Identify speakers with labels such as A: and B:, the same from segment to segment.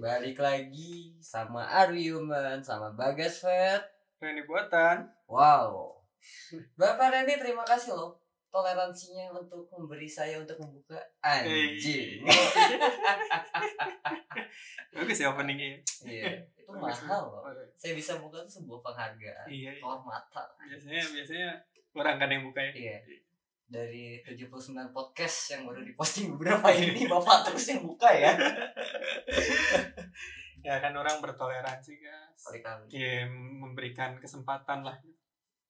A: balik lagi sama Are You Human, sama Bagas Fed.
B: Reni Buatan.
A: Wow. Bapak Randy terima kasih loh toleransinya untuk memberi saya untuk membuka anjing.
B: Bagus ya openingnya.
A: Iya, itu
B: Bagus.
A: mahal loh.
B: Oke.
A: Saya bisa buka itu sebuah penghargaan.
B: Iya, iya.
A: Kolor mata.
B: Biasanya biasanya orang kan yang buka ya.
A: Iya. Dari 79 podcast yang baru diposting beberapa ini, Bapak terus yang buka ya.
B: Ya kan orang bertoleransi guys.
A: Kali-kali.
B: Dia memberikan kesempatan lah.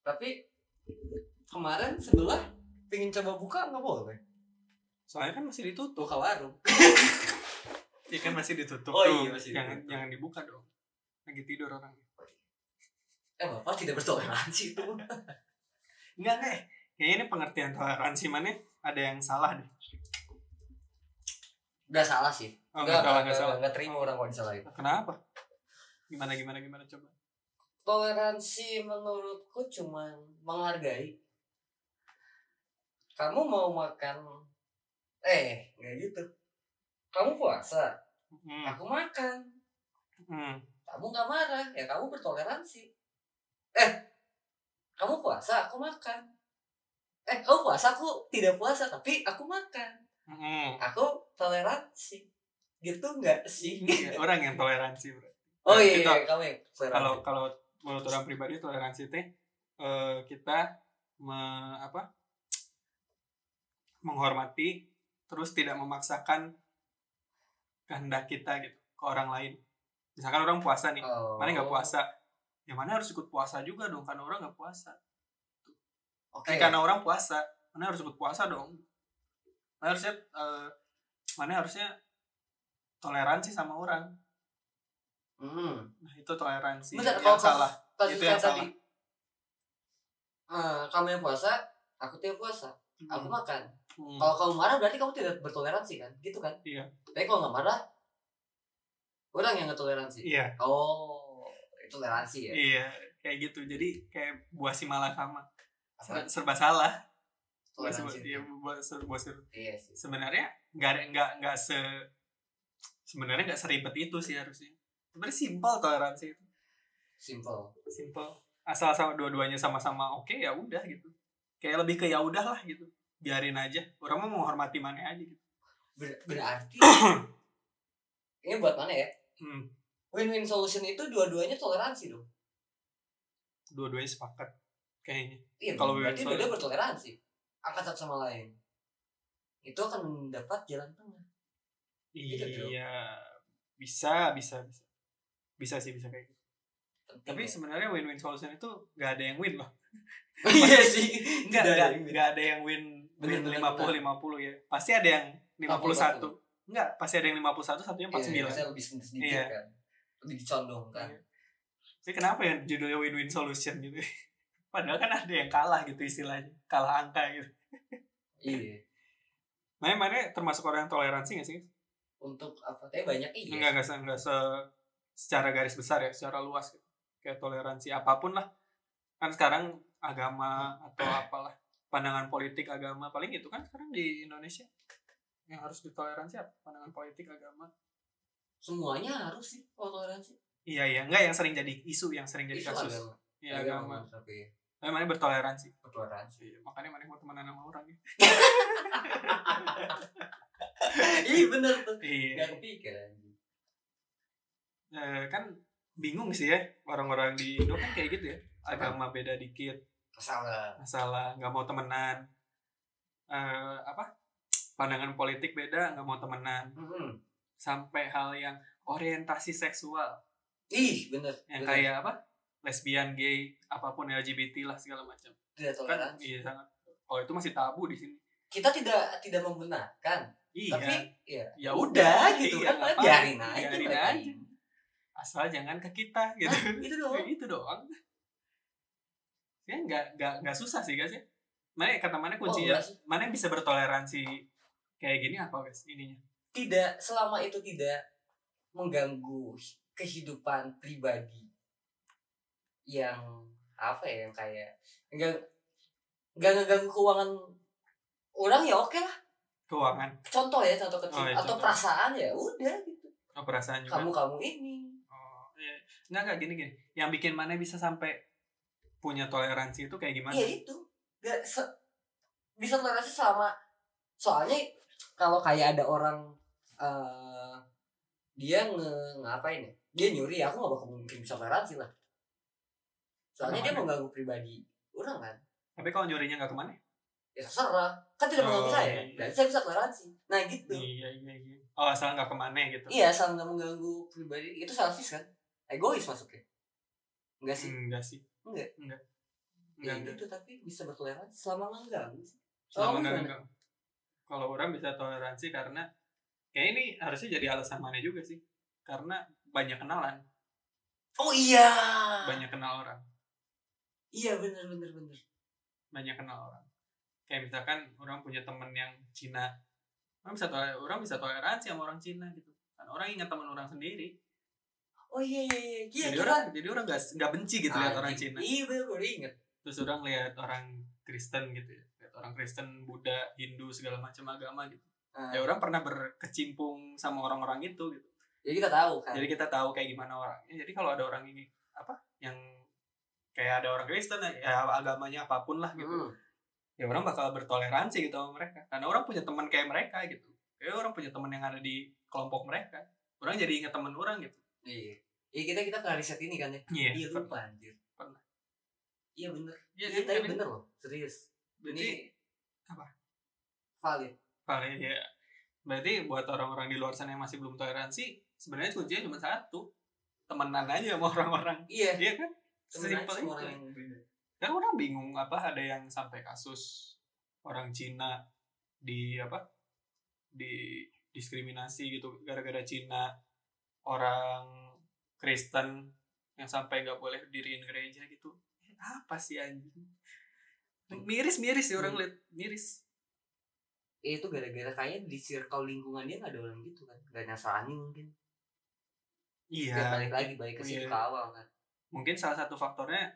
A: Tapi kemarin sebelah pengen coba buka nggak boleh.
B: Soalnya kan masih ditutup.
A: Buka warung.
B: Iya kan masih ditutup.
A: Oh,
B: tuh.
A: iya, masih
B: jangan
A: ditutup.
B: jangan dibuka dong. Lagi tidur orang.
A: Eh bapak tidak bertoleransi itu.
B: Enggak enggak. eh. Kayaknya ini pengertian toleransi mana ada yang salah deh.
A: Gak salah sih.
B: Oh,
A: Nggak,
B: enggak, salah,
A: nggak,
B: enggak salah.
A: nggak terima orang kalau gitu. disalahin.
B: Kenapa? Gimana gimana gimana coba.
A: Toleransi menurutku cuman menghargai. Kamu mau makan eh nggak gitu. Kamu puasa,
B: Hmm.
A: aku makan.
B: hmm.
A: Kamu nggak marah, ya kamu bertoleransi. Eh, kamu puasa, aku makan. Eh, kamu puasa, aku tidak puasa, tapi aku makan.
B: Hmm.
A: Aku toleransi. Gitu nggak sih?
B: Iya, orang yang toleransi bro.
A: Oh iya,
B: Kita-
A: iya, kamu yang toleransi.
B: gitu. kalau kalau menurut orang pribadi toleransi teh eh, kita me- apa menghormati terus tidak memaksakan kehendak kita gitu ke orang lain misalkan orang puasa nih
A: Oh.
B: mana nggak puasa ya mana harus ikut puasa juga dong karena orang nggak puasa
A: Oke.
B: Eh,
A: Iya.
B: karena orang puasa mana harus ikut puasa dong mana harusnya eh, mana harusnya toleransi sama orang
A: Hmm.
B: nah itu toleransi
A: Bentar,
B: yang
A: kalau kasus-
B: salah
A: kasus
B: Itu yang
A: saya tadi. Eh, kamu yang puasa, aku tidak puasa. Aku
B: Hmm.
A: makan.
B: Hmm.
A: Kalau kamu marah berarti kamu tidak bertoleransi kan? Gitu kan?
B: Iya.
A: Tapi kalau nggak marah, orang yang nggak toleransi.
B: iya
A: Oh, toleransi ya.
B: Iya, kayak gitu. Jadi kayak buah si malakama
A: Apa?
B: Ser- serba salah. Buah si-
A: Toleransi.
B: iya, buah ser- buah ser-
A: Iya sih.
B: sebenarnya nggak ada nggak nggak se sebenarnya nggak seribet itu sih harusnya. Sebenarnya simpel toleransi itu.
A: Simple.
B: Simpel. Asal sama dua-duanya sama-sama oke ya udah gitu. Kayak lebih ke ya udah lah gitu. Biarin aja. Orang mau menghormati mana aja gitu.
A: Ber- berarti ini buat mana ya?
B: Hmm,
A: Win-win solution itu dua-duanya toleransi dong.
B: dua-duanya sepakat kayaknya.
A: Iya,
B: Kalau ya?
A: berarti
B: win-win
A: dua-dua bertoleransi. Angkat satu sama lain. Itu akan mendapat jalan tengah. Gitu dong.
B: Iya, bisa, bisa, bisa. Bisa sih bisa kayak gitu. Tapi
A: Penting
B: sebenarnya win-win solution itu nggak ada yang win loh.
A: ya. iya sih
B: Enggak,
A: Tidak ada
B: enggak,
A: yang win.
B: enggak ada yang win win
A: Bener, bener,
B: 50 50 ya. Pasti ada yang 51. Enggak, pasti ada yang 51 satunya
A: Iya,
B: 49.
A: Saya lebih sedikit, sedikit
B: Iya.
A: kan lebih kan. dicondongkan
B: Iya. Jadi kenapa ya judulnya win-win solution gitu? Padahal kan ada yang kalah gitu istilahnya, kalah angka gitu.
A: iya
B: Mana mana termasuk orang yang toleransi gak sih?
A: untuk apa tapi banyak iya
B: Enggak, enggak, se- enggak se- secara garis besar ya, secara luas gitu. Kayak toleransi apapun lah. Kan sekarang agama atau apalah pandangan politik agama paling itu kan sekarang di Indonesia yang harus ditoleransi apa? Pandangan politik agama
A: semuanya harus sih kalau toleransi
B: Iya iya enggak yang sering jadi isu yang sering jadi
A: Isu
B: kasus.
A: agama ya.
B: Iya agama.
A: tapi
B: Tapi mana bertoleransi.
A: bertoleransi
B: Iya, makanya mana mau temenan sama orang ya.
A: iya bener tuh
B: Iya.
A: nggak kepikiran
B: Eh, kan bingung sih ya orang-orang di Indo kan kayak gitu ya. Agama beda dikit,
A: salah
B: masalah nggak mau temenan. Eh, apa? Pandangan politik beda, nggak mau temenan.
A: Mm-mm.
B: Sampai hal yang orientasi seksual
A: ih bener
B: yang
A: bener.
B: kayak apa? Lesbian, gay, apapun LGBT lah segala macam.
A: tidak
B: Kan
A: toleransi
B: iya sangat. Oh, itu masih tabu di sini.
A: kita tidak tidak membenarkan
B: Iya.
A: tapi ya
B: ya
A: udah gitu
B: iya,
A: kan malah
B: ngapain?
A: biarin aja
B: Biarin
A: mereka
B: aja.
A: ini.
B: asal jangan ke kita gitu
A: Hah, gitu
B: Kayak
A: doang
B: gitu doang ya nggak nggak nggak susah sih guys ya mana kata mana
A: Oh,
B: kuncinya
A: enggak sih.
B: mana yang bisa bertoleransi kayak gini apa guys ininya
A: tidak selama itu tidak mengganggu kehidupan pribadi yang apa ya yang kayak enggak enggak ngeganggu keuangan orang ya oke lah
B: keuangan
A: contoh ya contoh kecil
B: Oh, iya,
A: atau
B: contoh.
A: perasaan ya udah gitu
B: Oh, perasaan juga.
A: kamu kamu ini
B: Oh, iya. Nggak, nggak, gini, gini. Yang bikin mana bisa sampai punya toleransi itu kayak gimana?
A: Iya itu. Gak se- bisa toleransi sama soalnya kalau kayak ada orang eh dia nge ngapain ya? Dia nyuri ya aku gak bakal mungkin bisa toleransi lah. Soalnya dia
B: Kenapa?
A: mengganggu pribadi orang kan.
B: Tapi kalau nyurinya nggak kemana?
A: Ya terserah. Kan tidak mengganggu
B: Oh,
A: saya.
B: iya, iya.
A: Dan saya bisa toleransi. Nah gitu.
B: Iya, iya, iya. Oh, asal nggak kemana gitu.
A: Iya, asal nggak mengganggu pribadi itu selfish kan? Egois masuknya. Enggak Iya sih.
B: Enggak sih.
A: Enggak.
B: Enggak.
A: Ya,
B: Enggak, enggak.
A: gitu tapi bisa bertoleransi selama nggak mengganggu. sih.
B: Selama
A: Selama
B: nggak
A: nggak-
B: enggak. Kalau orang bisa toleransi karena kayak ini harusnya jadi alasan mana juga sih. Karena banyak kenalan,
A: Oh iya.
B: banyak kenal orang,
A: Iya bener bener bener.
B: banyak kenal orang. Kayak misalkan orang punya temen yang Cina, orang bisa tole- orang bisa toleransi sama orang Cina gitu. Kan orang ingat teman orang sendiri.
A: Oh iya iya iya. Iya
B: jadi
A: kita-
B: orang jadi orang nggak nggak benci gitu lihat orang
A: Anjing.
B: Cina
A: Iya bener baru inget.
B: terus orang lihat orang Kristen gitu ya lihat orang Kristen Buddha Hindu segala macam agama gitu
A: Ah,
B: ya orang pernah berkecimpung sama orang-orang itu gitu
A: jadi kita tahu kan.
B: jadi kita tahu kayak gimana orangnya jadi kalau ada orang ini apa yang kayak ada orang Kristen ya agamanya apapun lah gitu
A: Hmm.
B: ya orang bakal bertoleransi gitu sama mereka karena orang punya teman kayak mereka gitu kayak orang punya teman yang ada di kelompok mereka orang jadi ingat teman orang gitu
A: Iya. Iya kita kita pernah riset ini kan ya.
B: iya
A: Iya lupa anjir.
B: Pernah.
A: Iya bener.
B: iya
A: Iya tapi
B: tapi-
A: bener loh serius.
B: berarti
A: Ini
B: apa?
A: Valid.
B: paling ya berarti buat orang-orang di luar sana yang masih belum toleransi sebenarnya kuncinya cuma satu temenan aja sama orang-orang
A: Iya.
B: iya kan
A: Sebenarnya
B: Sesimpel
A: semua
B: itu.
A: orang yang gitu. berbeda.
B: kan orang bingung apa ada yang sampai kasus orang Cina di apa di diskriminasi gitu gara-gara Cina orang Kristen yang sampai nggak boleh diriin gereja gitu Eh, apa sih anjing miris-miris sih orang
A: Hmm.
B: lihat miris
A: Ya, itu gara-gara kayak di circle lingkungan dia nggak ada orang gitu kan. Gak nyasani mungkin. Ya, balik lagi balik ke
B: Iya.
A: circle awal kan.
B: mungkin salah satu faktornya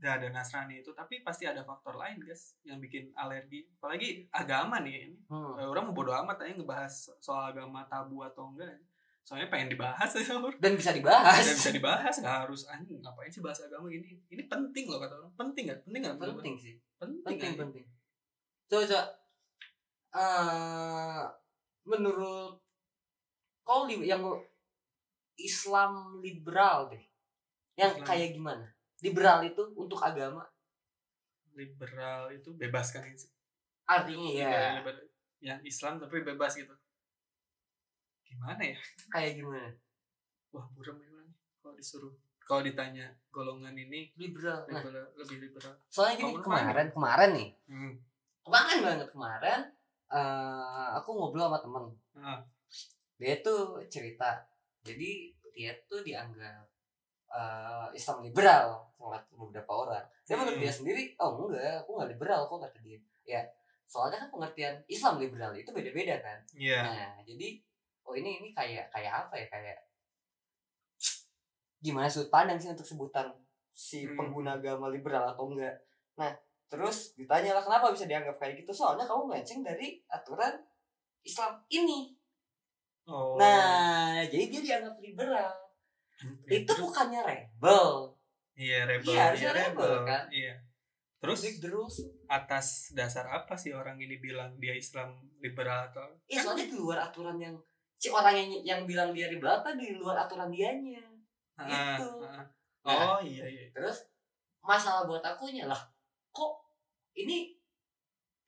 B: gak ada Nasrani itu tapi pasti ada faktor lain guys yang bikin alergi apalagi agama nih ini
A: Hmm.
B: orang mau bodo amat aja ngebahas soal agama tabu atau enggak soalnya pengen dibahas aja orang
A: Dan bisa dibahas.
B: Dan bisa dibahas nggak harus anjing ngapain sih bahas agama gini ini penting loh kata orang penting nggak penting nggak
A: Penting sih.
B: penting,
A: penting
B: anjing.
A: penting coba coba Eh, menurut kau li- yang Islam liberal deh yang
B: Islam.
A: kayak gimana liberal itu untuk agama
B: liberal itu bebas kan
A: Iya.
B: sih
A: artinya ya
B: Iya. yang Islam tapi bebas gitu gimana ya
A: kayak gimana
B: wah buram ya orang. kalau disuruh kalau ditanya golongan ini
A: liberal nah
B: liberal, lebih liberal
A: soalnya gini
B: kamu kemana?
A: kemarin kemarin nih
B: Hmm.
A: kemarin banget kemarin eh aku ngobrol sama temen
B: Ah.
A: dia tuh cerita jadi dia tuh dianggap eh, Islam liberal menurut beberapa orang tapi menurut
B: Hmm.
A: dia sendiri oh enggak aku nggak liberal kok kata dia ya soalnya kan pengertian Islam liberal itu beda-beda kan
B: Iya.
A: nah jadi oh ini ini kayak kayak apa ya kayak gimana sudut pandang sih untuk sebutan si
B: Hmm.
A: pengguna agama liberal atau enggak nah terus ditanyalah kenapa bisa dianggap kayak gitu soalnya kamu melenceng dari aturan Islam ini
B: Oh.
A: Nah, jadi dia dianggap liberal.
B: Ya,
A: Itu
B: terus-
A: bukannya rebel.
B: Iya rebel.
A: Iya, harusnya rebel, kan?
B: Iya. Terus
A: Break the rules.
B: atas dasar apa sih orang ini bilang dia Islam liberal atau?
A: Iya, soalnya di luar aturan yang si orang yang yang bilang dia liberal tadi di luar aturan dianya.
B: Ah,
A: Itu. Nah.
B: ah. Oh iya iya.
A: Terus masalah buat akunya lah, kok ini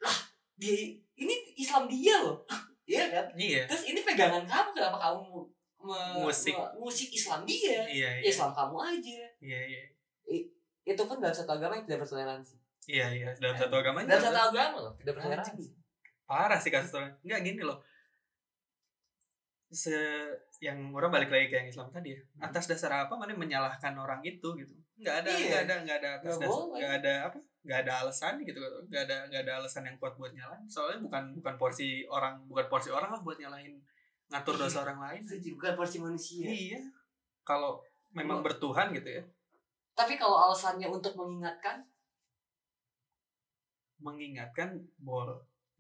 A: lah dia ini Islam dia loh. Iya kan?
B: Iya.
A: Terus ini pegangan kamu kenapa kamu me-
B: Musik.
A: me- musik Islam dia? Ya,
B: Iya iya.
A: Islam kamu aja.
B: Iya iya.
A: Itu pun dalam satu agama yang tidak bertoleransi.
B: Iya iya. Dalam satu
A: Eh,
B: agama
A: Dalam
B: juga.
A: satu agama loh, tidak bertoleransi.
B: Anjing. Parah sih kasus orang. Enggak gini loh. Se yang orang balik lagi ke yang Islam tadi ya. Atas dasar apa mana menyalahkan orang itu gitu. Enggak ada
A: Hmm. Iya.
B: enggak ada enggak ada atas
A: Nggak
B: dasar
A: boleh.
B: enggak ada apa? Enggak ada alasan gitu. Enggak ada enggak ada alasan yang kuat buat nyalahin. Soalnya bukan bukan porsi orang bukan porsi orang lah buat nyalahin ngatur dosa orang lain.
A: Setuju, bukan porsi manusia.
B: Iya. Kalau memang
A: Emang-
B: bertuhan gitu ya,
A: Tapi kalau alasannya untuk mengingatkan,
B: mengingatkan bol.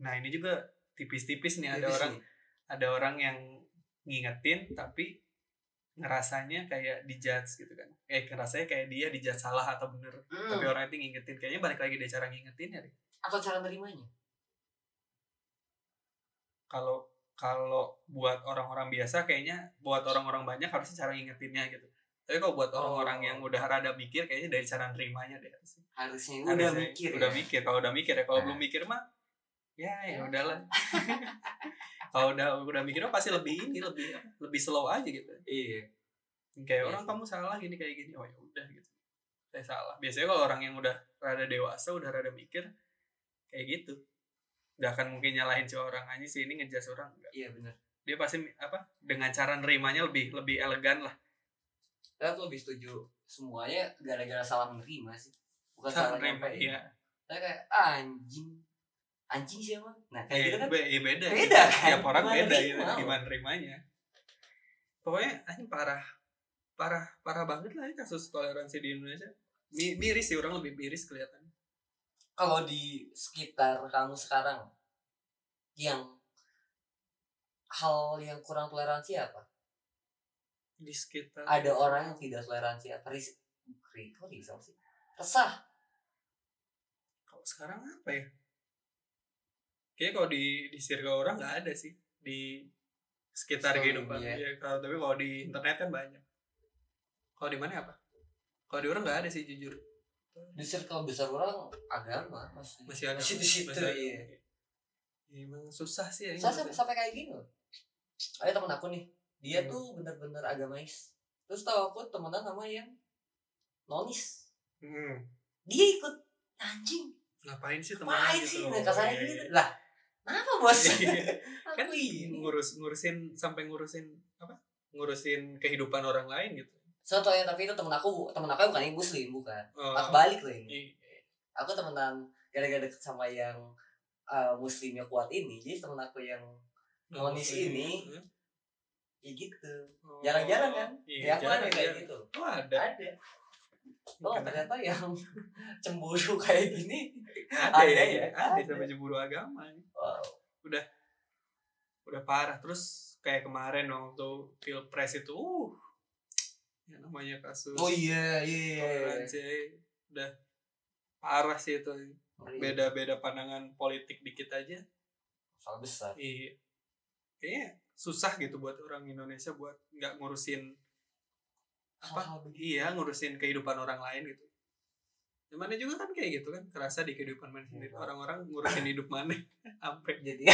B: Nah,
A: Iya
B: ini juga tipis-tipis nih ada
A: tipis
B: orang
A: nih.
B: ada orang yang ngingetin tapi ngerasanya kayak dijudge gitu kan eh ngerasanya kayak dia dijudge salah atau bener
A: Hmm.
B: tapi orang itu ngingetin kayaknya balik lagi deh cara ngingetin ya
A: atau cara nerimanya
B: kalau kalau buat orang-orang biasa kayaknya buat orang-orang banyak harusnya cara ngingetinnya gitu tapi kalau buat orang-orang
A: Oh.
B: yang udah rada mikir kayaknya dari cara nerimanya deh harusnya.
A: harusnya udah
B: Harusnya
A: mikir
B: udah
A: ya.
B: mikir kalau udah mikir ya kalau
A: Nah.
B: belum mikir mah ya ya
A: Ya.
B: udahlah kalau udah udah mikir mah pasti lebih ini lebih lebih slow aja gitu
A: iya
B: kayak
A: Iya
B: orang
A: sih.
B: kamu salah gini kayak gini oh ya udah gitu saya salah biasanya kalau orang yang udah rada dewasa udah rada mikir kayak gitu gak akan mungkin nyalahin si orang aja sih ini ngejas orang Nggak.
A: iya benar
B: dia pasti mi- apa dengan cara nerimanya lebih lebih elegan lah
A: Tapi aku lebih setuju semuanya gara-gara salah menerima sih. Bukan salah
B: cara nerima
A: nyampein.
B: iya
A: Saya kayak ah, anjing. Anjing siapa? Nah, kayak gitu
B: Eh,
A: kan.
B: be- iya beda
A: Beda
B: gitu.
A: kan?
B: tiap orang
A: Gimana
B: beda gitu
A: nerima lo?
B: gimana nerimanya pokoknya anjing parah parah parah banget lah ya kasus toleransi di Indonesia Mi- miris sih orang lebih miris kelihatan
A: Kalau di sekitar kamu sekarang yang hal yang kurang toleransi apa?
B: di sekitar
A: Ada orang yang tidak toleransi apa? Ris ri- kok risau sih? Resah.
B: kalau sekarang apa ya kayaknya kalau di di circle orang nggak ada sih di sekitar
A: Story,
B: kehidupan
A: iya.
B: ya kalau tapi kalau di internet kan banyak kalau di mana apa kalau di orang nggak ada sih jujur
A: Di circle besar orang agama masih.
B: masih ada
A: Masih di situ,
B: masih ada.
A: iya.
B: Ya, emang susah sih ya
A: Saya
B: ini.
A: sampai, sampai kayak gini loh. Ada temen aku nih, dia
B: Hmm.
A: tuh bener-bener agamais. Terus tau aku temenan sama yang nonis.
B: Hmm,
A: Dia ikut anjing,
B: ngapain sih teman
A: ngapain sih? Nah, kasarnya gitu. Lah, kenapa bos?
B: Iya, kan
A: aku ini.
B: ngurus ngurusin sampai ngurusin apa ngurusin kehidupan orang lain gitu
A: Contohnya, tapi itu temen aku, temen aku bukan yang muslim, bukan.
B: Eh,
A: Aku balik loh ini.
B: i-
A: Aku temenan gara-gara deket sama yang eh, muslimnya kuat ini. Jadi temen aku yang, Nonis ini. ya gitu.
B: iya. Oh,
A: Jarang-jarang kan? Ya,
B: iya,
A: aku ada
B: jarang-jarang.
A: kayak gitu.
B: Oh ada.
A: Ada. Oh,
B: Kenapa?
A: ternyata yang cemburu kayak gini Ada
B: ada, ya,
A: ya? Ada.
B: ada, sama cemburu agama iya.
A: Wow.
B: udah parah terus kayak kemarin waktu pilpres itu uh yang namanya kasus
A: Oh iya, iya, iya.
B: toleransi udah parah sih itu beda beda pandangan politik dikit aja
A: Soal besar.
B: iya kayaknya susah gitu buat orang Indonesia buat nggak ngurusin apa
A: Hal-hal begini.
B: iya ngurusin kehidupan orang lain gitu yang mana juga kan kayak gitu kan kerasa di kehidupan mana sendiri
A: Iya.
B: orang-orang ngurusin hidup mana ampe
A: Jadi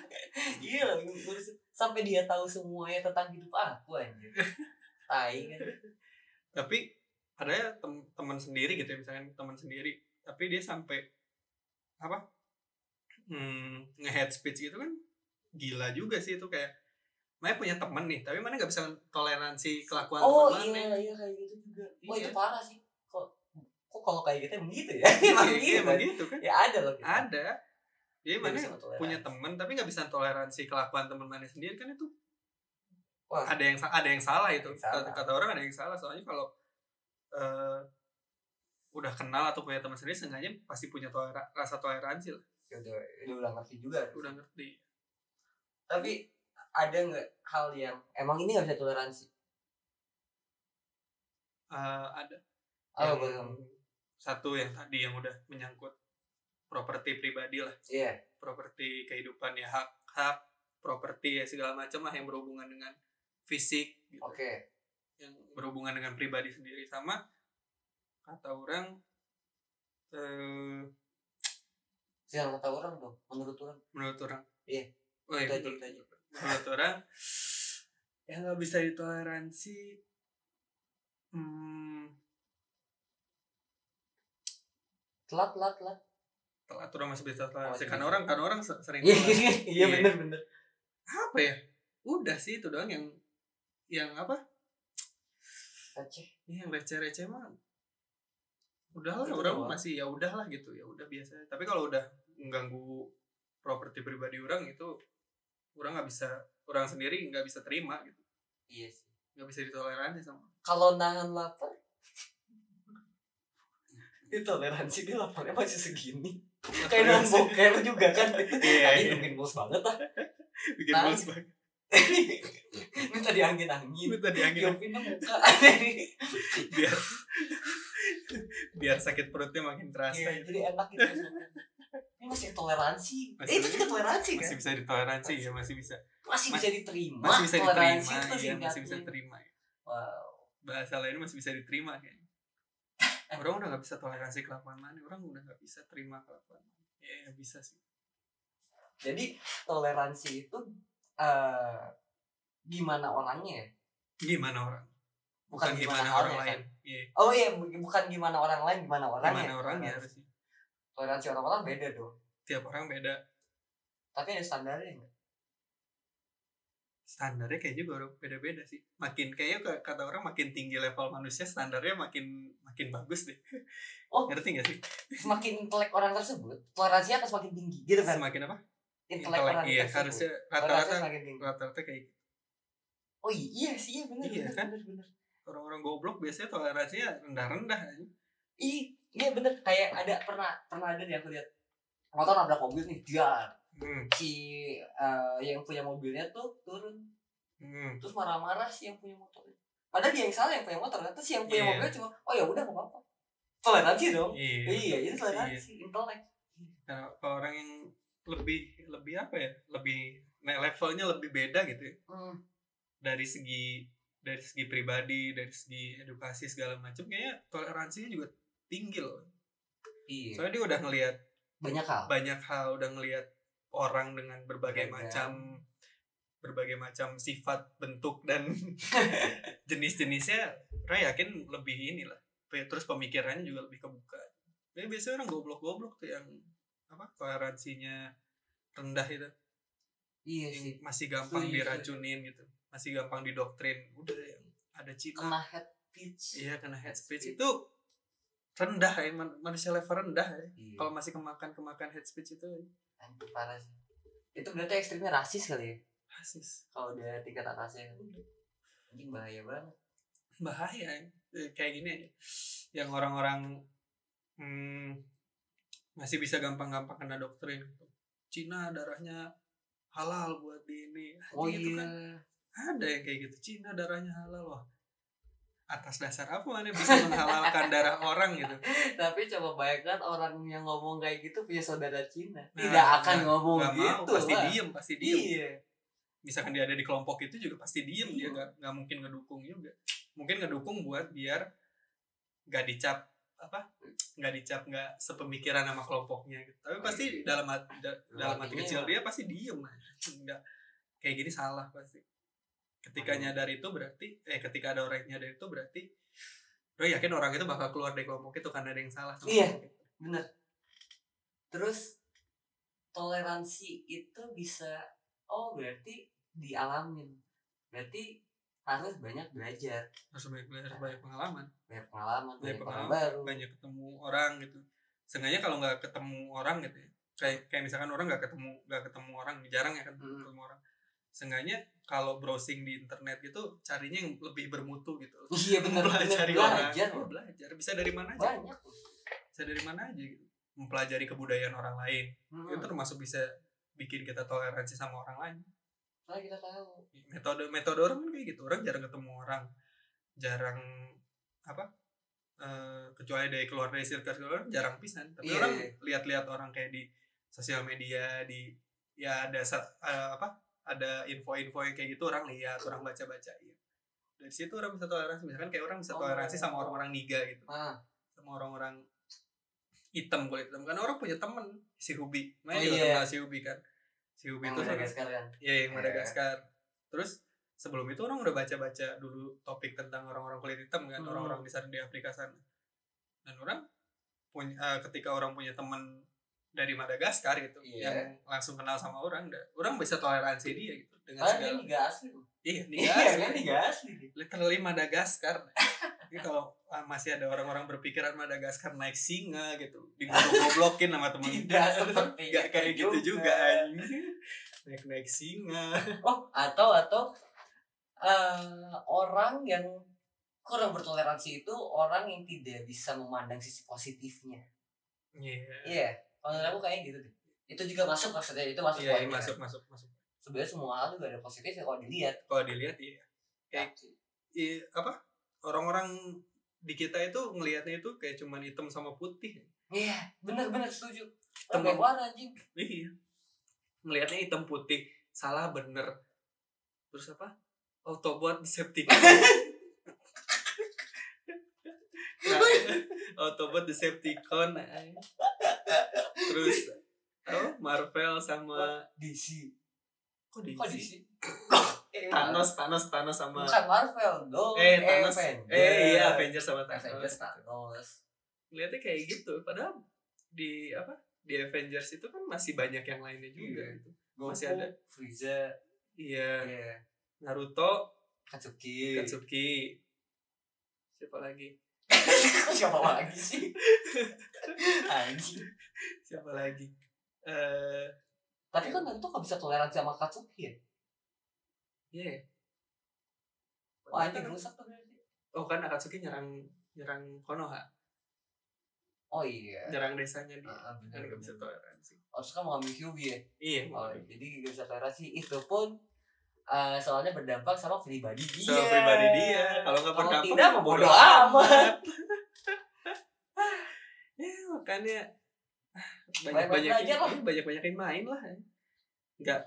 A: iya loh, ngurus- sampai dia tahu semuanya tentang hidup aku anjir. Tai kan.
B: tapi ada tem- teman sendiri gitu ya misalkan teman sendiri tapi dia sampai apa hmm, nge-head speech gitu kan gila juga sih itu kayak Maya punya temen nih tapi mana nggak bisa toleransi kelakuan
A: Oh iya,
B: teman Maya.
A: iya kayak gitu juga. Wah
B: Iya.
A: itu parah sih. Kok kok kalau kayak gitu emang gitu ya? emang
B: Iya,
A: gitu.
B: emang
A: kan?
B: gitu kan
A: Ya ada loh. kita.
B: ada
A: Dia
B: jadi mana
A: bisa toleransi.
B: punya temen tapi nggak bisa toleransi kelakuan teman mana sendiri kan itu
A: Wah,
B: ada yang sa- ada yang salah itu
A: Yang salah.
B: Kata, kata orang ada yang salah soalnya kalau eh, udah kenal atau punya teman sendiri seenggaknya pasti punya tolera- rasa toleransi lah
A: ya udah, udah, udah ngerti juga.
B: udah ngerti
A: Tapi ada nggak hal yang emang ini nggak bisa toleransi?
B: Eh, ada
A: Oh,
B: yang-
A: belum.
B: satu yang tadi yang udah menyangkut properti pribadi lah
A: Iya.
B: properti kehidupan ya hak hak properti ya segala macam lah yang berhubungan dengan fisik gitu.
A: Oke.
B: yang berhubungan dengan pribadi sendiri sama kata orang eh,
A: Jangan kata orang dong, menurut orang.
B: menurut orang
A: Iya.
B: oh, iya,
A: Itu aja,
B: menurut,
A: itu aja.
B: menurut orang yang nggak bisa ditoleransi hmm,
A: Telat, telat, telat.
B: telat orang masih bisa toleransi
A: iya.
B: karena orang karena orang se- sering
A: Iya,
B: toleransi.
A: iya bener bener.
B: apa ya udah sih itu doang yang yang apa
A: Aceh.
B: Iya, yang receh-receh mah udahlah
A: Itu
B: orang
A: doang.
B: masih ya udahlah gitu ya udah biasa tapi kalau udah mengganggu properti pribadi orang itu orang nggak bisa orang sendiri nggak bisa terima gitu
A: Iya sih.
B: nggak bisa ditoleransi sama
A: Kalau nahan lapar itu toleransi dia laparnya masih segini. Kayak nahan boker juga kan.
B: Iya,
A: Tadi
B: iya.
A: mungkin bos banget lah.
B: bikin
A: Nah.
B: males banget
A: ini tadi angin angin
B: Minta diangin
A: Kelvin Iya, muka
B: biar biar sakit perutnya makin terasa.
A: Iya,
B: gitu.
A: jadi enak gitu ini masih toleransi
B: Masih-
A: eh, itu juga toleransi kan
B: Masih bisa ditoleransi ya, masih bisa.
A: masih
B: Mas-
A: bisa diterima
B: Masih bisa
A: toleransi
B: diterima,
A: itu
B: iya, masih
A: singkatnya.
B: bisa terima. ya.
A: wow
B: Bahasa lain masih bisa diterima kayaknya. Orang udah gak bisa toleransi kelakuan mana, orang udah gak bisa terima kelakuan. Ya, bisa sih.
A: jadi toleransi itu eh gimana orangnya ya?
B: Gimana orang?
A: bukan, gimana,
B: orang
A: orangnya, kan?
B: lain. Iya.
A: oh iya bu- bukan gimana orang ya, lain gimana orangnya
B: Gimana ya. orangnya harusnya.
A: toleransi orang-orang beda dong
B: Tiap orang beda.
A: tapi ada standarnya nggak
B: Standarnya kayak juga orang beda-beda sih. Makin kayaknya ka- kata orang makin tinggi level manusia standarnya makin makin bagus deh.
A: Oh.
B: Ngerti gak sih?
A: semakin intelek orang tersebut toleransinya akan semakin tinggi gitu kan
B: Semakin apa?
A: intelek
B: Intelek,
A: orang
B: iya
A: tersebut
B: harusnya
A: toleransinya
B: rata-rata
A: semakin tinggi
B: rata-rata kayak
A: oh iya, iya sih iya benar
B: Iya,
A: benar
B: kan?
A: benar benar
B: orang-orang goblok biasanya toleransinya rendah-rendah aja.
A: Ih, iya benar kayak ada pernah pernah ada nih aku lihat motor nabrak mobil nih dia
B: Hmm.
A: si eh, yang punya mobilnya tuh turun
B: Hmm.
A: terus marah-marah si yang punya motor padahal dia yang salah yang punya motor terus si yang punya
B: Iya.
A: mobilnya cuma oh ya udah nggak apa-apa toleransi dong
B: Iya.
A: iya ini toleransi intelek
B: Karena kalau Nah, orang yang lebih lebih apa ya? Lebih nah, levelnya lebih beda gitu ya.
A: hmm.
B: Dari segi dari segi pribadi, dari segi edukasi segala macam kayaknya toleransinya juga tinggi loh.
A: iya
B: Soalnya dia udah ngelihat
A: banyak hal
B: banyak hal, udah ngelihat orang dengan berbagai
A: Beragam.
B: macam berbagai macam sifat, bentuk dan jenis-jenisnya. Orang yakin lebih inilah. Pe- Terus pemikirannya juga lebih kebuka. Jadi biasanya orang goblok-goblok tuh yang apa toleransinya rendah itu
A: iya
B: yang
A: sih
B: masih gampang
A: Setuju,
B: diracunin gitu masih gampang didoktrin udah yang ada Cina
A: kena head pitch
B: iya kena head speech
A: Speech.
B: itu rendah ya man- manusia level rendah ya
A: iya.
B: kalau masih kemakan kemakan head speech itu
A: Anjir, parah sih itu berarti ekstrimnya rasis kali ya
B: rasis
A: kalau udah tingkat atasnya anjing bahaya banget
B: bahaya ya. Eh, kayak gini aja yang orang-orang hmm, masih bisa gampang-gampang kena doktrin gitu. Cina darahnya halal buat di ini
A: oh
B: Anjing, itu
A: iya
B: kan ada yang kayak gitu Cina darahnya halal wah atas dasar apa mana bisa menghalalkan darah orang gitu
A: tapi coba bayangkan orang yang ngomong kayak gitu punya saudara Cina
B: Nah,
A: tidak akan
B: nggak-
A: ngomong
B: nggak mau
A: gitu
B: pasti
A: lah.
B: diem pasti diem
A: iya
B: misalkan dia ada di kelompok itu juga pasti diem
A: Iya.
B: dia nggak nggak mungkin ngedukung juga mungkin ngedukung buat biar nggak dicap apa nggak dicap nggak sepemikiran sama kelompoknya gitu tapi pasti
A: Iya.
B: dalam hati, da- dalam hati
A: hatinya
B: kecil
A: ya.
B: dia pasti diem aja. nggak kayak gini salah pasti ketika
A: Makanya.
B: nyadar itu berarti eh ketika ada orang yang nyadar itu berarti lo yakin orang itu bakal keluar dari kelompok itu karena ada yang salah sama
A: Iya.
B: kelompok itu.
A: bener terus toleransi itu bisa oh berarti dialamin berarti harus banyak belajar
B: harus banyak harus banyak pengalaman
A: banyak pengalaman
B: Banyak
A: banyak, orang
B: pengalaman,
A: baru
B: banyak ketemu orang gitu sengaja kalau nggak ketemu orang gitu ya kayak kayak misalkan orang nggak ketemu nggak ketemu orang jarang ya kan
A: Hmm.
B: ketemu orang sengaja kalau browsing di internet gitu carinya yang lebih bermutu gitu
A: iya bener bener
B: mempelajari orang
A: belajar
B: Iya, belajar bisa dari mana aja
A: banyak
B: bisa dari mana aja gitu mempelajari kebudayaan orang lain
A: Hmm,
B: itu termasuk bisa bikin kita toleransi sama orang lain
A: soalnya kita tahu
B: metode metode orang kan kayak gitu orang jarang ketemu orang jarang apa eh, kecuali dari keluar dari circle orang jarang pisan tapi
A: Iya,
B: orang
A: iya.
B: lihat-lihat orang kayak di sosial media di ya ada sa- eh, apa ada info-info yang kayak gitu orang lihat orang baca-bacain dari situ orang bisa toleransi misalkan kayak orang bisa
A: Oh.
B: toleransi sama orang-orang niga gitu
A: ah
B: sama orang-orang hitam kulit hitam karena orang punya temen si Hubi
A: Oh,
B: main
A: iya.
B: juga
A: Oh,
B: kenal si Hubi kan si Hubi itu
A: itu
B: seorang-
A: ya, sekalian
B: Iya yang
A: Iya.
B: Madagaskar. Terus sebelum itu orang udah baca-baca dulu topik tentang orang-orang kulit hitam kan,
A: Hmm.
B: orang-orang di sana di Afrika sana. Dan orang punya eh, ketika orang punya teman dari Madagaskar gitu
A: Iya.
B: yang langsung kenal sama orang, da- orang bisa toleransi dia gitu dengan
A: padahal dia
B: segala.
A: nggak asli loh.
B: Iya,
A: Ah, iya
B: dia
A: kan
B: asli.
A: nggak asli dia.
B: literally Madagaskar. Jadi kalau ah, masih ada orang-orang berpikiran Madagaskar naik singa gitu, digoblok-goblokin sama teman
A: tidak seperti
B: Gak
A: itu
B: kayak gitu juga anjing. Naik-naik singa.
A: Oh, atau atau eh, orang yang kurang bertoleransi itu orang yang tidak bisa memandang sisi positifnya.
B: Iya.
A: Iya, kalau menurut aku kayak gitu deh. Itu juga masuk maksudnya, itu masuk
B: Iya,
A: poinnya.
B: masuk masuk masuk.
A: sebenarnya semua hal juga ada positifnya kalau dilihat
B: kalau dilihat iya kayak i- apa orang-orang di kita itu ngelihatnya itu kayak cuman hitam sama putih
A: iya bener-bener setuju
B: Hitam.
A: Temen warna anjing
B: iya ngelihatnya hitam putih salah bener terus apa Autobot Decepticon nah, Autobot Decepticon ay. terus apa Marvel sama
A: DC
B: kok
A: kok DC Eh,
B: Thanos Thanos Thanos sama
A: bukan Marvel dong
B: eh Thanos
A: Avengers.
B: eh iya Avengers sama
A: Avengers
B: Thanos
A: Thanos
B: ngeliatnya kayak gitu padahal di apa di Avengers itu kan masih banyak yang lainnya juga
A: Iya.
B: gitu.
A: Goku,
B: Masih ada.
A: Frieza
B: iya
A: iya
B: Naruto
A: Katsuki
B: Katsuki siapa lagi
A: siapa lagi sih anjing
B: siapa lagi eh
A: tapi kan Naruto gak bisa toleransi sama Katsuki ya
B: iya ya
A: wah Oh, anjing rusak tuh berarti.
B: oh kan Akatsuki nyerang nyerang Konoha
A: oh iya
B: nyerang desanya dia
A: Ah,
B: kan
A: bener
B: nggak bisa toleransi
A: Harusnya mau ngambil Hyuugi ya
B: iya
A: Oh, jadi gak bisa toleransi itu pun eh, soalnya berdampak sama pribadi dia.
B: Sama pribadi dia. Kalau nggak
A: Iya. Kalau
B: berdampak,
A: tidak,
B: bodo
A: bodo amat.
B: ya makanya ah, banyak
A: Main-main
B: banyak
A: aja lah.
B: banyak banyakin main lah ya. nggak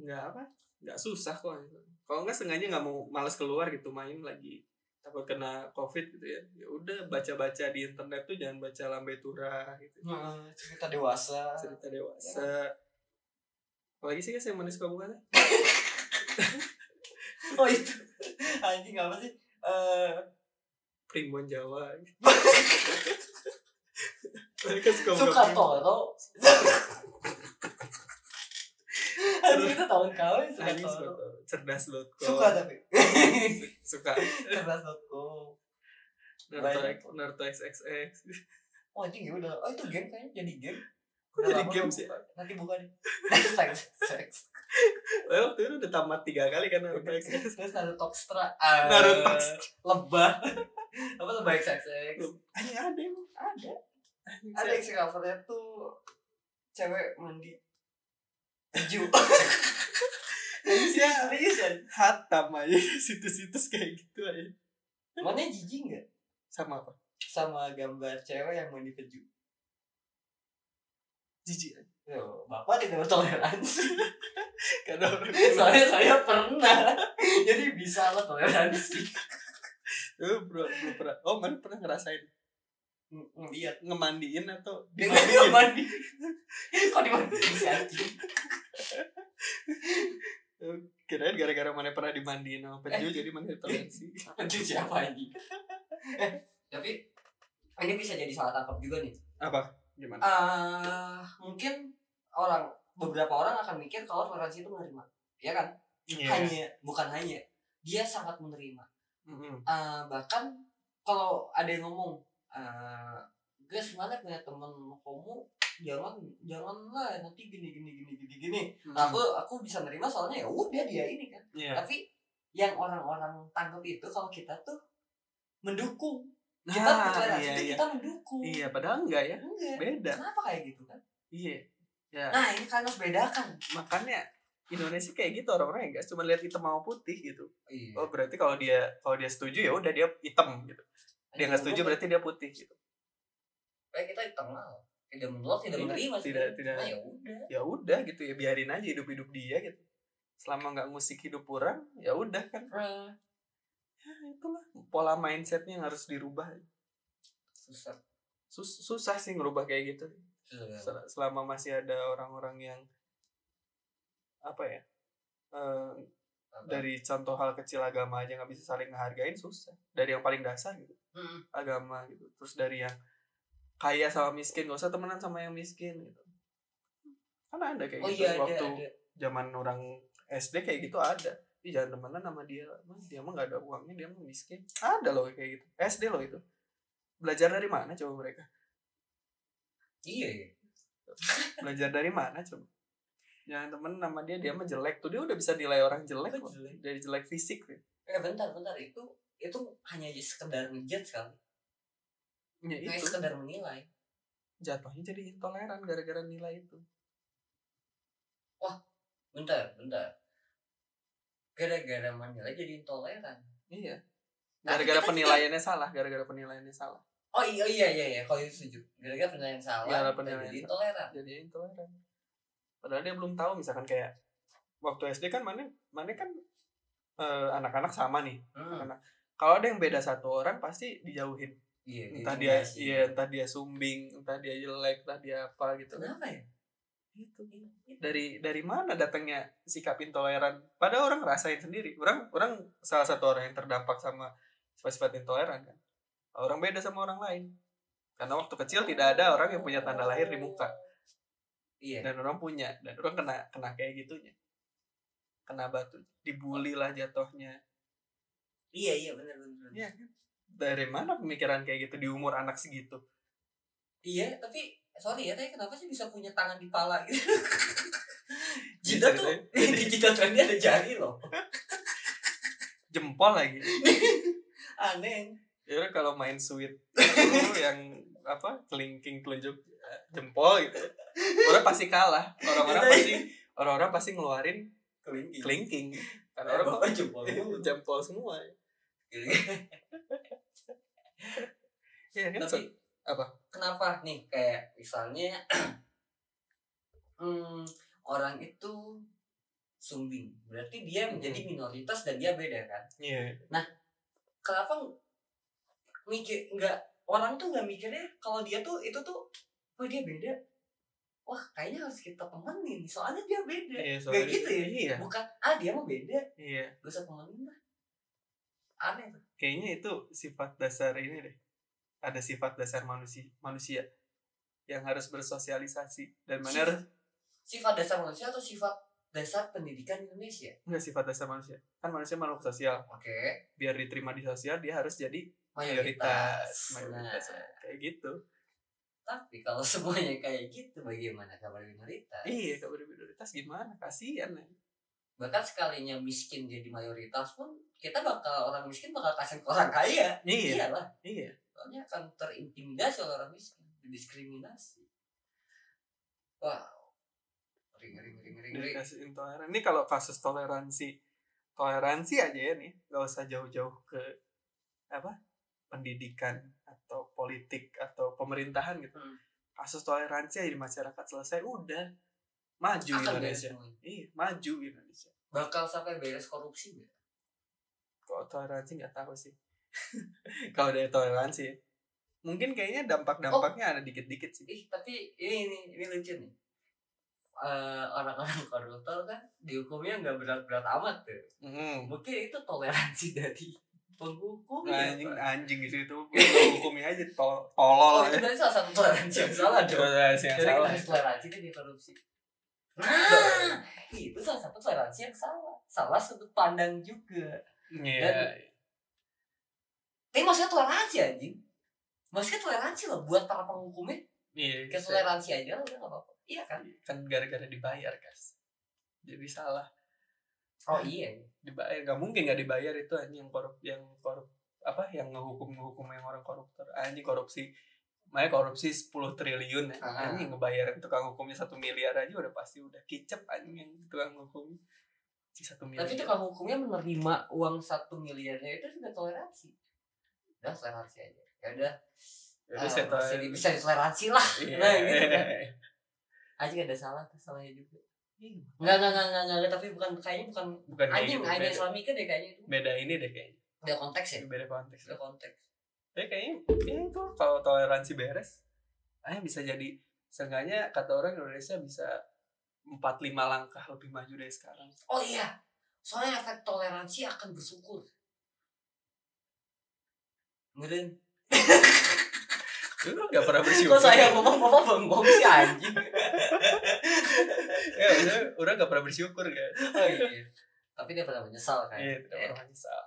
B: nggak apa nggak susah kok kalau nggak sengaja nggak mau males keluar gitu main lagi takut kena covid gitu ya ya udah baca baca di internet tuh jangan baca lambe turah gitu
A: Hmm, cerita dewasa.
B: cerita dewasa apalagi sih guys yang manis kau bukan
A: Oh itu. Anjing apa sih? Eh,
B: primbon jawa mereka kan suka buka
A: suka
B: primbon.
A: toro. Anjing itu tahun kawin suka
B: Anjing suka
A: toro.
B: toro. cerdas lo
A: Suka tapi.
B: suka
A: Cerdas aku.
B: Naruto,
A: Banyak.
B: Naruto XXX
A: Oh anjing ya udah. Oh itu game kayaknya jadi game.
B: Kok
A: Udah
B: jadi
A: lama
B: game
A: tuh
B: sih?
A: buka. Nanti buka deh. Seks, seks.
B: Eh, waktu itu udah tamat tiga kali kan Naruto XXX
A: Terus Naruto Extra.
B: Naruto
A: Eh, lebah. Apa lebah seks, seks.
B: Anjing ada emang
A: ada ada yang si covernya tuh cewek mandi hijau
B: Iya.
A: serius ya
B: Hatam aja Situs-situs kayak gitu aja
A: mana jijik nggak
B: Sama apa?
A: sama gambar cewek yang mandi keju
B: Jijik aja
A: Yo, bapak tidak bertoleransi
B: Karena orang
A: soalnya saya pernah jadi bisa lah toleransi
B: Lu belum belum pernah Oh mana pernah ngerasain
A: iya
B: Ngemandiin atau
A: dia nggak dia mandi kok dimandiin sih anjing?
B: Kirain gara-gara mana pernah dimandiin sama Peju
A: Eh.
B: Jadi mana toleransi
A: itu siapa anjing eh tapi ini bisa jadi salah tangkap juga nih
B: Apa? Gimana?
A: Ah, mungkin orang beberapa orang akan mikir kalau toleransi itu menerima ya kan
B: Iya
A: hanya bukan hanya dia sangat menerima
B: Mm-mm.
A: Ah, bahkan kalau ada yang ngomong ah, guys mana punya temen homo jangan janganlah nanti gini gini gini gini gini Nah, aku
B: Hmm.
A: aku bisa nerima soalnya ya udah dia ini kan
B: Iya
A: tapi yang orang-orang tangkap itu kalau kita tuh mendukung kita
B: Nah,
A: toleransi
B: iya,
A: itu
B: iya.
A: kita mendukung
B: Iya padahal enggak ya
A: enggak
B: Beda
A: kenapa kayak gitu kan
B: Iya Ya
A: nah ini kan harus bedakan
B: makanya Indonesia kayak gitu orang-orang ya guys cuma lihat hitam mau putih gitu
A: Iya.
B: oh berarti kalau dia kalau dia setuju ya udah dia hitam gitu dia nggak
A: Iya.
B: setuju berarti dia putih gitu
A: Kayak kita hitam lah. Tidak menolak, tidak
B: Iya,
A: menerima sih.
B: tidak- tidak.
A: Nah, ya udah.
B: ya udah gitu ya biarin aja hidup hidup dia gitu selama nggak ngusik hidup orang ya udah kan ya, itulah pola mindsetnya yang harus dirubah
A: Susah.
B: Sus- susah sih ngerubah kayak gitu
A: Susah.
B: Sel- selama masih ada orang-orang yang apa ya eh, dari contoh hal kecil agama aja nggak bisa saling ngehargain susah dari yang paling dasar gitu
A: Mm-mm.
B: agama gitu terus dari yang kaya sama miskin gak usah temenan sama yang miskin gitu kan ada kayak
A: Oh
B: gitu
A: iya ada
B: waktu
A: ada.
B: zaman orang SD kayak gitu ada Ih, jangan temenan sama dia Mah, dia mah gak ada uangnya dia mah miskin ada loh kayak gitu SD loh itu belajar dari mana coba mereka
A: Iya iya.
B: belajar dari mana coba jangan temen sama dia dia mah jelek tuh dia udah bisa nilai orang jelek
A: Kok
B: loh.
A: jelek?
B: dari jelek fisik ya,
A: Eh bentar bentar itu itu hanya sekedar ngejudge kali. Hanya
B: ya itu
A: sekedar menilai.
B: jatuhnya jadi intoleran gara-gara nilai itu
A: Bentar bentar. gara-gara Mandela jadi intoleran
B: Iya.
A: Nah,
B: Gara-gara
A: kita-
B: penilaiannya salah, gara-gara penilaiannya salah.
A: oh iya iya iya, iya. kalau itu setuju gara-gara penilaian salah
B: Gara-gara
A: kita
B: Iya, penilaian
A: jadi
B: salah.
A: intoleran
B: Jadi intoleran. Padahal dia belum tahu misalkan kayak waktu SD kan mana mana kan eh, anak-anak sama nih.
A: hmm.
B: Kalau ada yang beda satu orang pasti dijauhin.
A: iya
B: Entah dia
A: diskriminasi.
B: iya, entah dia sumbing, entah dia jelek, entah dia apa gitu.
A: kenapa ya
B: Gitu. Dari dari mana datangnya sikap intoleran? Padahal orang rasain sendiri. Orang orang salah satu orang yang terdampak sama sifat-sifat intoleran kan. Orang beda sama orang lain. Karena waktu kecil tidak ada orang yang punya tanda lahir di muka.
A: iya
B: dan orang punya dan orang kena kena kayak gitunya kena batu dibully lah jatuhnya
A: iya iya benar benar
B: Iya. dari mana pemikiran kayak gitu di umur anak segitu
A: Iya, tapi sorry ya, tapi kenapa sih bisa punya tangan di pala gitu?
B: Jadi
A: Jidat tuh,
B: ceritanya-
A: di jidatannya ada jari loh.
B: jempol lagi
A: Aneh.
B: ya udah kalau main sweet dulu yang apa kelingking telunjuk eh, jempol gitu orang pasti kalah orang-orang
A: Iya,
B: pasti orang-orang pasti ngeluarin
A: Kelingking.
B: kelingking Iya. karena
A: Orang
B: orang
A: bapak jempol.
B: kok jempol semua ya kan
A: tapi
B: apa?
A: Kenapa nih kayak misalnya hmm, orang itu sumbing, berarti dia menjadi minoritas dan dia beda kan?
B: iya
A: Kenapa ng- mikir nggak orang tuh nggak mikirnya kalau dia tuh itu tuh, wah dia beda. Wah kayaknya harus kita temenin, soalnya dia beda.
B: iya
A: Kayak
B: soalnya-
A: gitu ya?
B: iya
A: Bukan, ah dia mah beda,
B: iya
A: gak usah temenin lah. Aneh tuh.
B: kayaknya itu sifat dasar ini deh ada sifat dasar manusia manusia yang harus bersosialisasi dan mana
A: Sif-
B: harus
A: Sifat dasar manusia atau sifat dasar pendidikan Indonesia?
B: enggak sifat dasar manusia kan manusia makhluk sosial
A: Oke,
B: biar diterima di sosial dia harus jadi
A: mayoritas.
B: mayoritas mayoritas
A: Nah,
B: kayak gitu
A: tapi kalau semuanya kayak gitu, bagaimana kabar minoritas?
B: iya kalau udah minoritas gimana kasihan ya
A: Bahkan sekalinya miskin jadi mayoritas pun, kita bakal, orang miskin bakal kasihan ke orang kaya.
B: iya
A: Iyalah,
B: iya
A: soalnya akan terintimidasi oleh orang miskin. Diskriminasi. Wow. Ring, ring, ring, ring,
B: dari
A: ring.
B: kasus intoleran ini kalau kasus toleransi toleransi aja ya nih nggak usah jauh-jauh ke apa pendidikan atau politik atau pemerintahan gitu
A: Hmm.
B: kasus toleransi aja di masyarakat selesai udah maju
A: Akan beres
B: Indonesia
A: semuanya.
B: iya maju Indonesia
A: Bakal sampai beres korupsi nggak?
B: kalau toleransi nggak tahu sih kalau dari toleransi ya. mungkin kayaknya dampak-dampaknya ada dikit-dikit sih
A: ih tapi ini ini, ini lucu nih Eh, orang-orang koruptor kan dihukumnya nggak berat-berat amat tuh
B: mm.
A: mungkin itu toleransi dari penghukum ya,
B: Iya, anjing
A: Pak.
B: anjing di situ hukumnya aja tol
A: oh
B: tolol
A: itu
B: ya.
A: berarti salah satu toleransi yang salah dong
B: Toleransi yang
A: jadi kita
B: salah.
A: harus toleransi kan di korupsi nah, itu salah satu toleransi yang salah salah sudut pandang juga
B: Iya.
A: tapi maksudnya toleransi anjing maksudnya toleransi loh buat para penghukumnya
B: Iya,
A: kayak
B: saya-
A: toleransi aja lah udah nggak apa-apa iya kan
B: kan gara-gara dibayar, guys. Jadi salah
A: oh iya
B: dibayar, nggak mungkin nggak dibayar itu anjing yang korup, yang korup apa yang ngehukum ngehukum yang orang koruptor anjing korupsi makanya korupsi 10 triliun anjing,
A: Ah.
B: anjing ngebayar tukang hukumnya satu miliar aja udah pasti udah kicep anjing yang tukang hukum si satu miliar
A: Tapi tukang hukumnya menerima uang satu miliarnya itu sudah toleransi. Udah toleransi aja. Ya udah.
B: Jadi
A: eh,
B: Ya saya tahu-
A: masih di- bisa ditoleransi lah.
B: Iya.
A: Nah, gitu kan. Aja gak ada salah tuh sama dia juga. Iya, Enggak enggak enggak enggak, enggak tapi bukan kayaknya bukan
B: bukan kayak
A: anjing
B: gitu,
A: aja
B: beda,
A: Islami kan ya kayaknya itu.
B: beda ini deh kayaknya
A: Udah konteks ya.
B: beda konteks
A: Udah konteks.
B: Tapi kayaknya ya itu kalau toleransi beres, ah bisa jadi seenggaknya kata orang Indonesia bisa empat lima langkah lebih maju dari sekarang.
A: Oh iya. Soalnya efek toleransi akan bersyukur. Ngeren.
B: Lu nggak pernah bersyukur.
A: Kok saya ngomong ngomong bengong sih anjing.
B: Ya, udah, udah nggak pernah bersyukur kan?
A: Oh iya. Tapi dia pernah menyesal kan.
B: Iya, tidak pernah menyesal.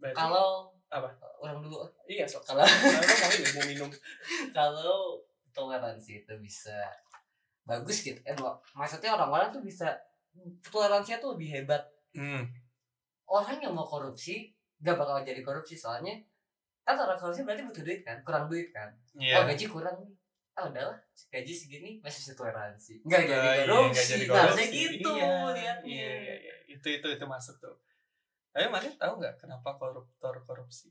B: Berarti-
A: Kalau
B: Apa?
A: Orang dulu
B: Iya, sok
A: kalau
B: Kalau mau ini mau minum.
A: kalau toleransi itu bisa bagus gitu eh mak- maksudnya orang-orang tuh bisa toleransinya tuh lebih hebat
B: Hmm.
A: orang yang mau korupsi gak bakal jadi korupsi soalnya kan orang korupsi berarti butuh duit kan kurang duit kan oh
B: Iya.
A: gaji kurang nih ah udahlah gaji segini masih bisa toleransi nggak
B: Iya,
A: jadi
B: iya, nggak
A: korupsi
B: jadi
A: nah harusnya
B: korupsi.
A: gitu
B: Iya,
A: liatnya
B: Iya, iya, iya. itu itu itu masuk tuh tapi Madin tahu nggak kenapa koruptor korupsi